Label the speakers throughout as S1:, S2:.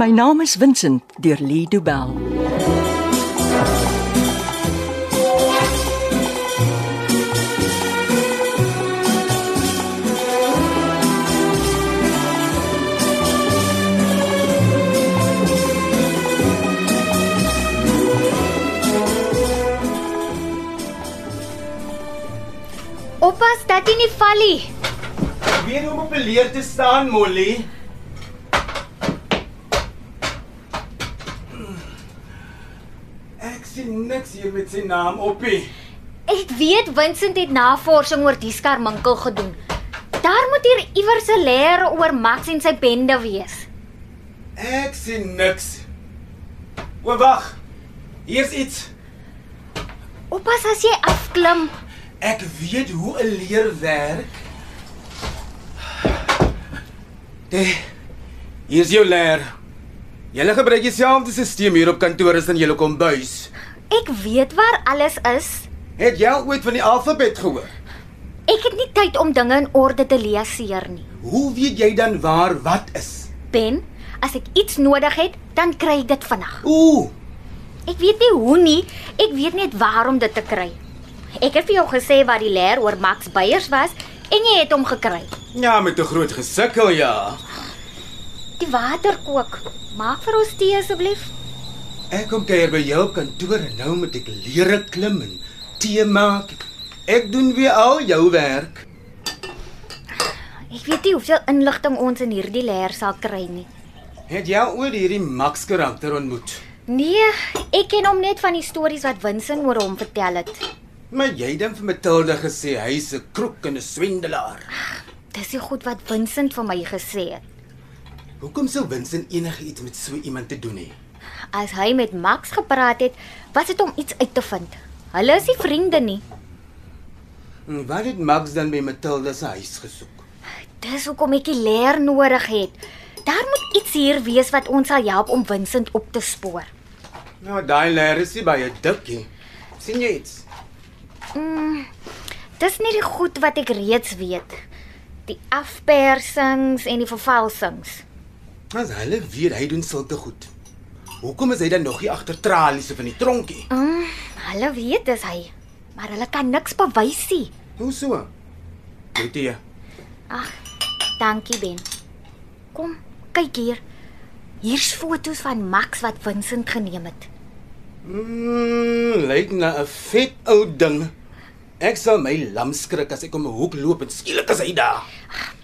S1: My naam is Vincent deur Lee Du Bell.
S2: Oppas dat jy nie val nie.
S3: Weer om op 'n leer te staan, Molly. Ek sien niks hier met sy naam op nie.
S2: Ek weet Vincent het navorsing oor die skarminkel gedoen. Daar moet hier iewers 'n leer oor Max en sy bende wees.
S3: Ek sien niks. O, wag. Hier's iets.
S2: Oppas as jy afklim.
S3: Ek weet hoe 'n leer werk. Dit hier's jou leer. Julle gebruik dieselfde stelsel hier op kantoor as in julle kombuis.
S2: Ek weet waar alles is.
S3: Het jy al ooit van die alfabet gehoor?
S2: Ek het nie tyd om dinge in orde te lees seer nie.
S3: Hoe weet jy dan waar wat is?
S2: Ben, as ek iets nodig het, dan kry ek dit vinnig.
S3: Ooh,
S2: Ek weet nie hoe nie, ek weet net waar om dit te kry. Ek het vir jou gesê wat die leer oor Max Beyers was en jy het hom gekry.
S3: ja, met 'n groot gesukkel ja.
S2: Die water kook. Maak vir ons tee asseblief.
S3: Ek kom kuier by jou op kantoor en nou moet ek lere klim en tee maak. Ek doen weer al jou werk.
S2: Ek weet nie hoeveel inligting ons in hierdie leer sal kry nie.
S3: Het jy al ooit hierdie Max karakter ontmoet?
S2: Nee, ek ken hom net van die stories wat Winsin oor hom vertel het.
S3: Maar jy het dan vir Matilda gesê hy's 'n kroek en 'n swendelaar.
S2: Dis die goed wat Winsin vir my gesê het.
S3: Hoekom sou Vincent enigiets met so iemand te doen hê?
S2: As hy met Max gepraat het, was dit om iets uit te vind. Hulle is nie vriende nie.
S3: En wat het Max dan by Matilda se huis gesoek?
S2: Dis hoekom ek die leer nodig het. Daar moet iets hier wees wat ons sal help om Winsin op te spoor.
S3: Nou, daai leer is nie baie dik nie. sien jy iets?
S2: Dis nie die goed wat ek reeds weet. Die afpersings en die vervalsings.
S3: As hulle weet hy doen sulke goed. Hoekom is hy dan nog hier agter tralies of in die tronkie?
S2: Mm, hulle weet dis hy, maar hulle kan niks bewys nie.
S3: Hoe so? Weet jy?
S2: Ag, dankie Ben. Kom, kyk hier. Hier's foto's van Max wat Vincent geneem het.
S3: Mm, lyk na 'n vet ou ding. Ek sal my lam skrik as ek om 'n hoek loop en skielik is hy daar.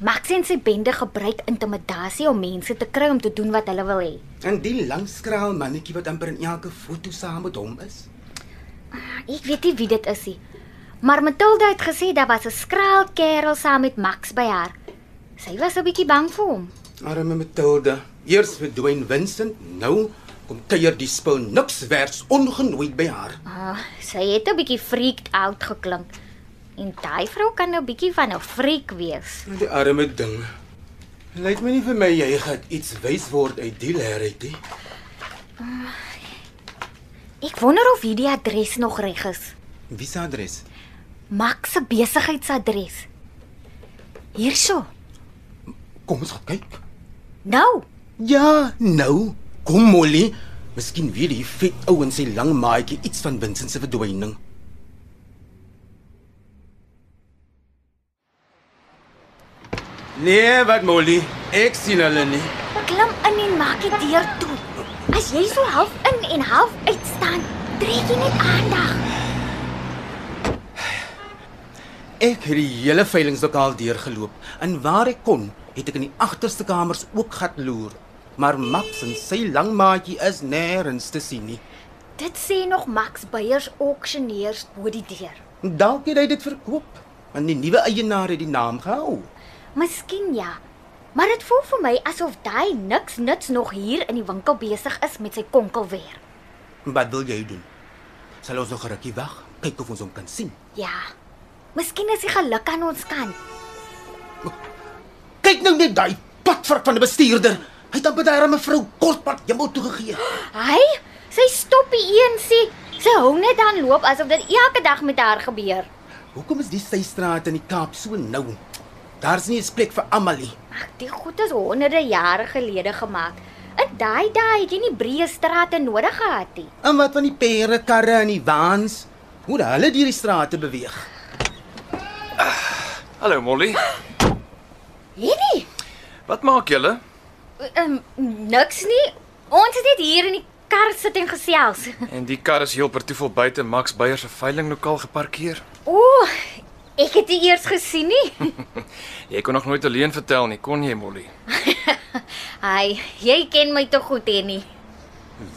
S2: Max en sy bende gebruik intimidasie om mense te kry om te doen wat hulle wil hê.
S3: En die langskraal mannetjie wat amper in elke foto saam met hom is.
S2: Ek weet nie wie dit is nie. Maar Matilda het gesê daar was 'n skraal kerel saam met Max by haar. Sy was 'n bietjie bang vir hom.
S3: Arme Matilda. Eers verdwyn Vincent, nou kom kuier die spul niks werds ongenooi by haar.
S2: Ah, sy het 'n bietjie freaked out geklink. En daai vrou kan nou bietjie van 'n freak wees.
S3: Die arme ding. Lyk my nie vir my jy gaan iets wys word uit die leer uit nie.
S2: Ek wonder of hierdie adres nog reg is.
S3: Wie se adres?
S2: Max se besigheidsadres. Hierso.
S3: Kom ons gaan kyk.
S2: Nou,
S3: Ja, nou. Kom Molly. Miskien weet die vet ou en sy lang maatjie iets van Vincent se verdwyning. Nee, wat Molly? Ek sien hulle nie.
S2: klim in en maak die deur toe. As jy so half in en half uit staan, trek jy net aandag.
S3: Ek het die hele veilingslokaal deurgeloop en waar ek kon, het ek in die agterste kamers ook gat loer. Maar Max en sy lang maatjie is nêrens te sien nie.
S2: Dit sê nog Max Beyers auctioneers bo die deur.
S3: Dalk het hy dit verkoop, want die nuwe eienaar het die naam gehou.
S2: Miskien ja. Maar dit voel vir my asof daai niks nits nog hier in die winkel besig is met sy konkelweer.
S3: Wat wil jy doen? Sal ons nog 'n rukkie wag, kyk of ons hom kan sien.
S2: Ja. Miskien is die geluk aan ons kant.
S3: Kyk nou net daai padvark van 'n bestuurder. Hy het amper daai arme vrou kortpad hemel toe gegee.
S2: Hy, sy stop die eensie. Sy hou net aan loop asof dit elke dag met haar gebeur.
S3: Hoekom is die systraat in die Kaap so nou? Daar's nie 'n plek vir almal nie.
S2: Ag, die goed is honderde jare gelede gemaak. In daai dae het jy nie breë strate nodig gehad nie.
S3: En wat van die pere karre en die vans? Hoe het hulle deur die strate beweeg?
S4: Hallo Molly.
S2: Hierdie,
S4: Wat maak julle?
S2: um, niks nie. Ons het net hier in die kar sit en gesels.
S4: En die kar is heel per toeval buite Max Beyer se veilinglokaal geparkeer.
S2: O, ek het dit eers gesien nie.
S4: Jy kon nog nooit alleen vertel nie, kon jy Molly?
S2: Ai, jy ken my te goed hè nie.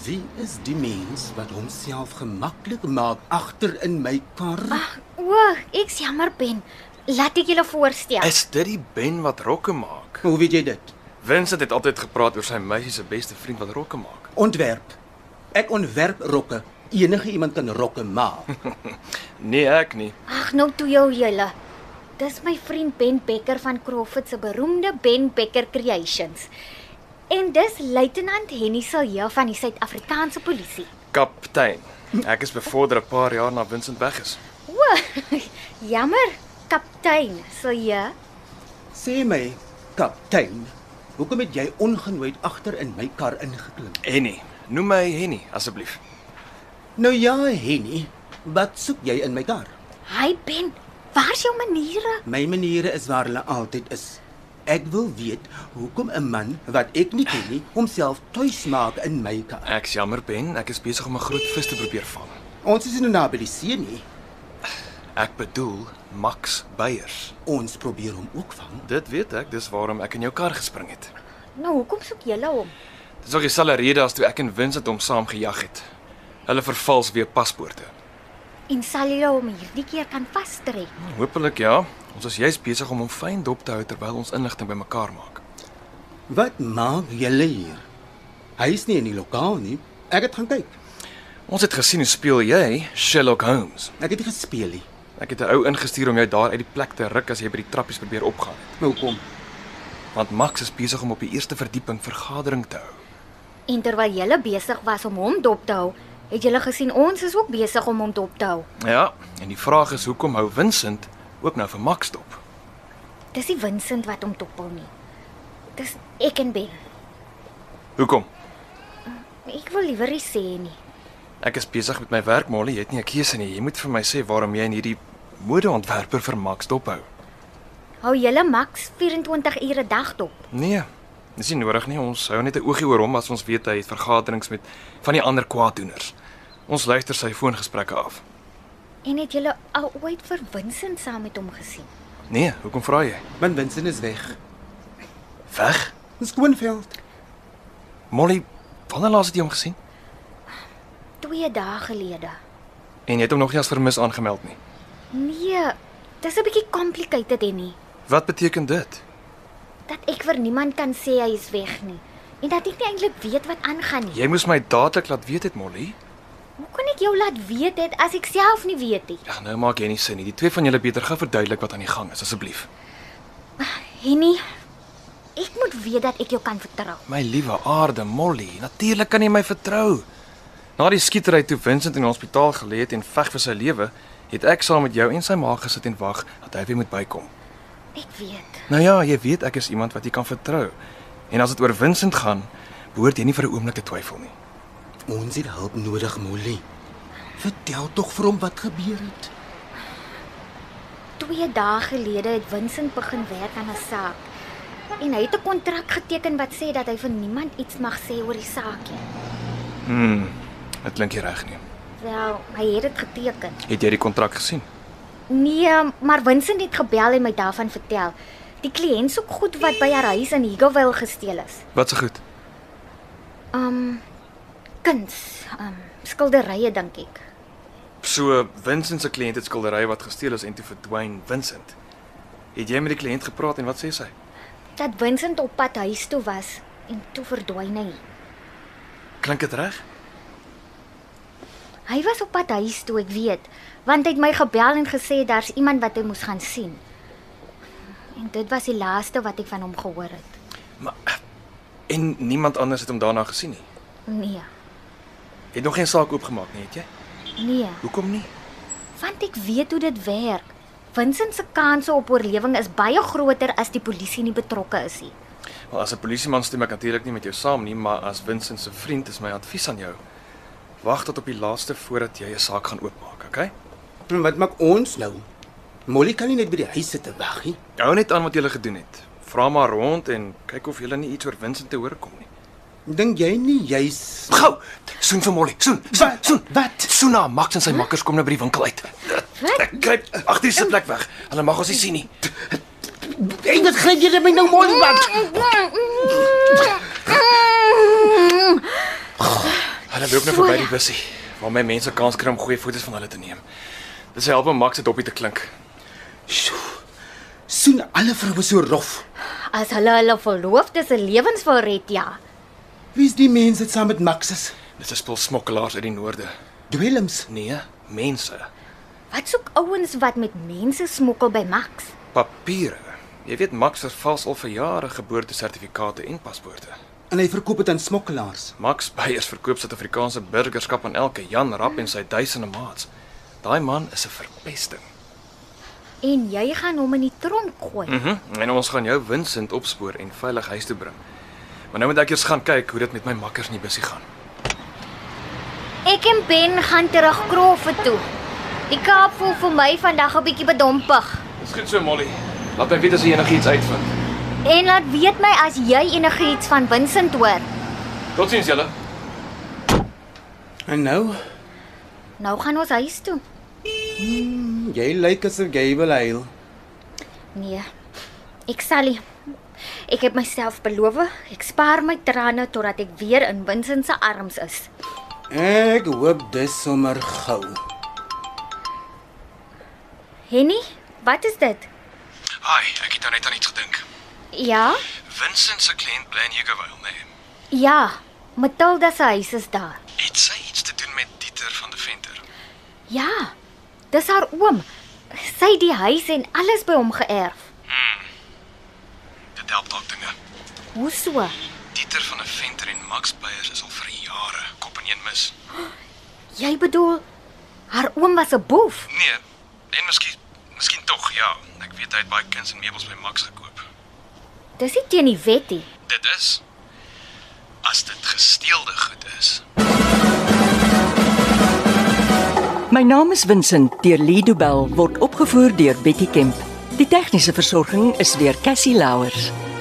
S3: Wie is die mens wat homself gemaklik maak agter in my kar?
S2: O, ek's jammer Ben. Laat ek julle voorstel.
S4: Is dit die Ben wat rokke maak?
S3: Hoe weet jy dit?
S4: Vincent het altyd gepraat oor sy meisie se beste vriend wat rokke maak.
S3: Ontwerp. Ek ontwerp rokke. Enige iemand kan rokke maak.
S4: Nee, ek nie.
S2: Ag, nou toe jou julle. Dis my vriend Ben Becker van Crawford se beroemde Ben Becker Creations. En dis Luitenant Henny Silje van die Suid-Afrikaanse Polisie.
S4: Kaptein. Ek is bevorder 'n paar jaar na Vincent weg is.
S2: O, jammer, kaptein Silje.
S3: Sê my, kaptein, hoekom het jy ongenooid agter in my kar ingeklim?
S4: Henny. Noem my Henny asseblief.
S3: Nou ja, Henny, wat soek jy in my kar?
S2: Hi Ben, waar's jou maniere?
S3: My maniere is waar hulle altyd is. Ek wil weet hoekom 'n man wat ek nie ken nie, homself tuis maak in my kar.
S4: Ek's jammer Ben, ek is besig om 'n groot vis te probeer vang.
S3: Ons is nie naby die see nie.
S4: Ek bedoel Max Beyers.
S3: Ons probeer hom ook vang.
S4: Dit weet ek, dis waarom ek in jou kar gespring het.
S2: Nou hoekom soek julle hom?
S4: Dis ook dieselfde rede as toe ek en Vincent hom saam gejag het. Hulle vervals weer paspoorte.
S2: En sal julle hom hierdie keer kan vastrek?
S4: Hoopelik ja. Ons is juis besig om hom fyn dop te hou terwyl ons inligting bymekaar maak.
S3: Wat maak julle hier? Hy is nie in die lokaal nie. Ek het gaan kyk.
S4: Ons het gesien hoe speel jy Sherlock Holmes.
S3: Ek het nie gespeel nie.
S4: Ek het 'n ou ingestuur om jou daar uit die plek te ruk as jy by die trappies probeer opgaan het,
S3: Nou kom.
S4: want Max is besig om op die eerste verdieping vergadering te hou.
S2: En terwyl julle besig was om hom dop te hou, het julle gesien ons is ook besig om hom dop te hou.
S4: Ja, en die vraag is hoekom hou Vincent ook nou vir Max dop?
S2: Dis nie Vincent wat hom dop hou nie. Dis ek en Ben.
S4: Hoekom?
S2: Nee, Ek wil liewer nie sê nie.
S4: Ek is besig met my werk, Molly, jy het nie 'n keuse nie. Jy moet vir my sê waarom jy in hierdie modeontwerper vir Max dop hou.
S2: Hou julle maks 24 ure 'n dag dop.
S4: Nee. Dis nie nodig nie. Ons hou net 'n oogie oor hom as ons weet hy het vergaderings met van die ander kwaaddoeners. Ons luister sy foongesprekke af.
S2: En het julle al ooit vir Vincent saam met hom gesien?
S4: Nee, hoekom vra jy?
S3: Man Vincent is weg.
S4: Weg?
S3: In Skoonveld.
S4: Molly, wanneer laas het jy hom gesien?
S2: 2 dae gelede.
S4: En jy het hom nog nie as vermis aangemeld nie.
S2: Nee, dis 'n bietjie complicated hè nie.
S4: Wat beteken dit?
S2: Dat ek vir niemand kan sê hy is weg nie en dat ek nie eintlik weet wat aangaan nie.
S4: Jy moes my dadelik laat weet het, Molly.
S2: Hoe kon ek jou laat weet dit as ek self nie weet nie?
S4: Ag, nou maak jy nie sin nie. Die twee van julle beter gou verduidelik wat aan die gang is asseblief.
S2: Henny, ek moet weet dat ek jou kan vertrou.
S4: My liewe aarde Molly, natuurlik kan jy my vertrou. Na die skietery toe Vincent in die hospitaal gelê het en veg vir sy lewe, het ek saam met jou en sy ma gesit en wag dat hy weer moet bykom.
S2: Ek weet.
S4: Nou ja, jy weet ek is iemand wat jy kan vertrou. En as dit oor Vincent gaan, behoort jy nie vir 'n oomblik te twyfel nie.
S3: Ons het hulp nodig, Molly. Vertel tog vir hom wat gebeur het.
S2: 2 dae gelede het Vincent begin werk aan 'n saak. En hy het 'n kontrak geteken wat sê dat hy vir niemand iets mag sê oor die saak nie.
S4: Hmm, dit klink nie reg nie.
S2: Wel, hy het dit geteken.
S4: Het jy die kontrak gesien?
S2: Nee, maar Vincent het gebel en my daarvan vertel. Die kliënt soek goed wat by haar huis in Higgoville gesteel is.
S4: Wat se goed?
S2: Um kuns, um skilderye dink ek.
S4: So Vincent se kliënt het skildery wat gesteel is en toe verdwyn Vincent. Het jy met die kliënt gepraat en wat sê sy?
S2: Dat Vincent op pad huis toe was en toe verdwyn hy.
S4: Klink dit reg?
S2: Hy was op pad huis toe, ek weet, want hy het my gebel en gesê daar's iemand wat hy moes gaan sien. En dit was die laaste wat ek van hom gehoor het.
S4: Maar en niemand anders het hom daarna gesien nie.
S2: Nee,
S4: Het nog geen saak oopgemaak nie, het jy?
S2: nee,
S4: Hoekom nie?
S2: want ek weet hoe dit werk. Vincent se kanse op oorlewing is baie groter as die polisie nie betrokke is nie.
S4: Wel, as 'n polisieman stem ek natuurlik nie met jou saam nie, maar as Vincent se vriend is my advies aan jou. Wag tot op die laaste voordat jy 'n saak gaan oopmaak, okay?
S3: En wat maak ons nou? Molly kan nie net by die huis sit en wag nie.
S4: Hou net aan wat jy gedoen het. Vra maar rond en kyk of jy nie iets oor Vincent te hoor kom nie.
S3: Dink jy nie jy's
S4: Gou, soen vir Molly. Soen, soen,
S3: Wat?
S4: soen.
S3: Wat?
S4: Soen haar, Max en sy makkers kom nou by die winkel uit. Ek gryp agter die sitplek weg. Hulle mag ons nie sien nie.
S3: Hey, wat gryp jy my nou mooi wat?
S4: Hulle loop nou verby die bussie waar my mense kans kry om goeie foto's van hulle te neem. Dit help om Max se dopie te klink.
S3: Sjoe. Soen alle vroue so rof.
S2: As hulle hulle verloofdes se lewens wil red, ja.
S3: Wie's die mense wat saam met Max is?
S4: Dis 'n spul smokkelaars uit die noorde.
S3: Dwelms.
S4: Nee, mense.
S2: Wat soek ouens wat met mense smokkel by Max?
S4: Papiere. Jy weet Max vervals al vir jare geboortesertifikate en paspoorte.
S3: En hy verkoop dit aan smokkelaars.
S4: Max Beyers verkoop Suid-Afrikaanse burgerskap aan elke Jan Rap en sy duisende maats. Daai man is 'n verpesting.
S2: En jy gaan hom in die tronk gooi.
S4: Mhm. Mm en ons gaan jou Vincent opspoor en veilig huis toe bring. Maar nou moet ek eers gaan kyk hoe dit met my makkers in die bussie gaan.
S2: Ek en Ben gaan terug Krofte toe. Die Kaap voel vir my vandag 'n bietjie bedompig.
S4: Dis goed so Molly. Laat my weet as jy enigiets uitvind.
S2: En laat weet my as jy enigiets van Vincent hoor.
S4: Totsiens julle.
S3: En nou,
S2: Nou gaan ons huis toe.
S3: jy lyk asof jy wil huil.
S2: Nee. Ek sal nie. Ek het myself beloof, ek spaar my trane totdat ek weer in Vincent se arms is.
S3: Ek hoop dis sommer gou.
S2: Henny, wat is dit?
S4: Hi, ek het nou net aan iets gedink.
S2: Ja?
S4: Vincent se kliënt bly in Jugowil, né? Nee.
S2: Ja. Matilda se huis is daar.
S4: Het sy iets te doen met Dieter van die Venter?
S2: Ja. Dis haar oom. Sy het die huis en alles by hom geërf.
S4: Dit help dalk dinge.
S2: Hoe so?
S4: Dieter van die Venter en Max Beyers is al vir jare kop in een mis.
S2: Jy bedoel haar oom was 'n boef.
S4: Nee, en miskien miskien tog ja. Ek weet hy het baie kuns en meubels by Max gekoop.
S2: Dis nie teen die wet nie.
S4: Dit is as dit gesteelde goed is.
S1: My naam is Vincent deur Lido Bell word opgevoer deur Betty Kemp. Die tegniese versorging is deur Cassie Louers.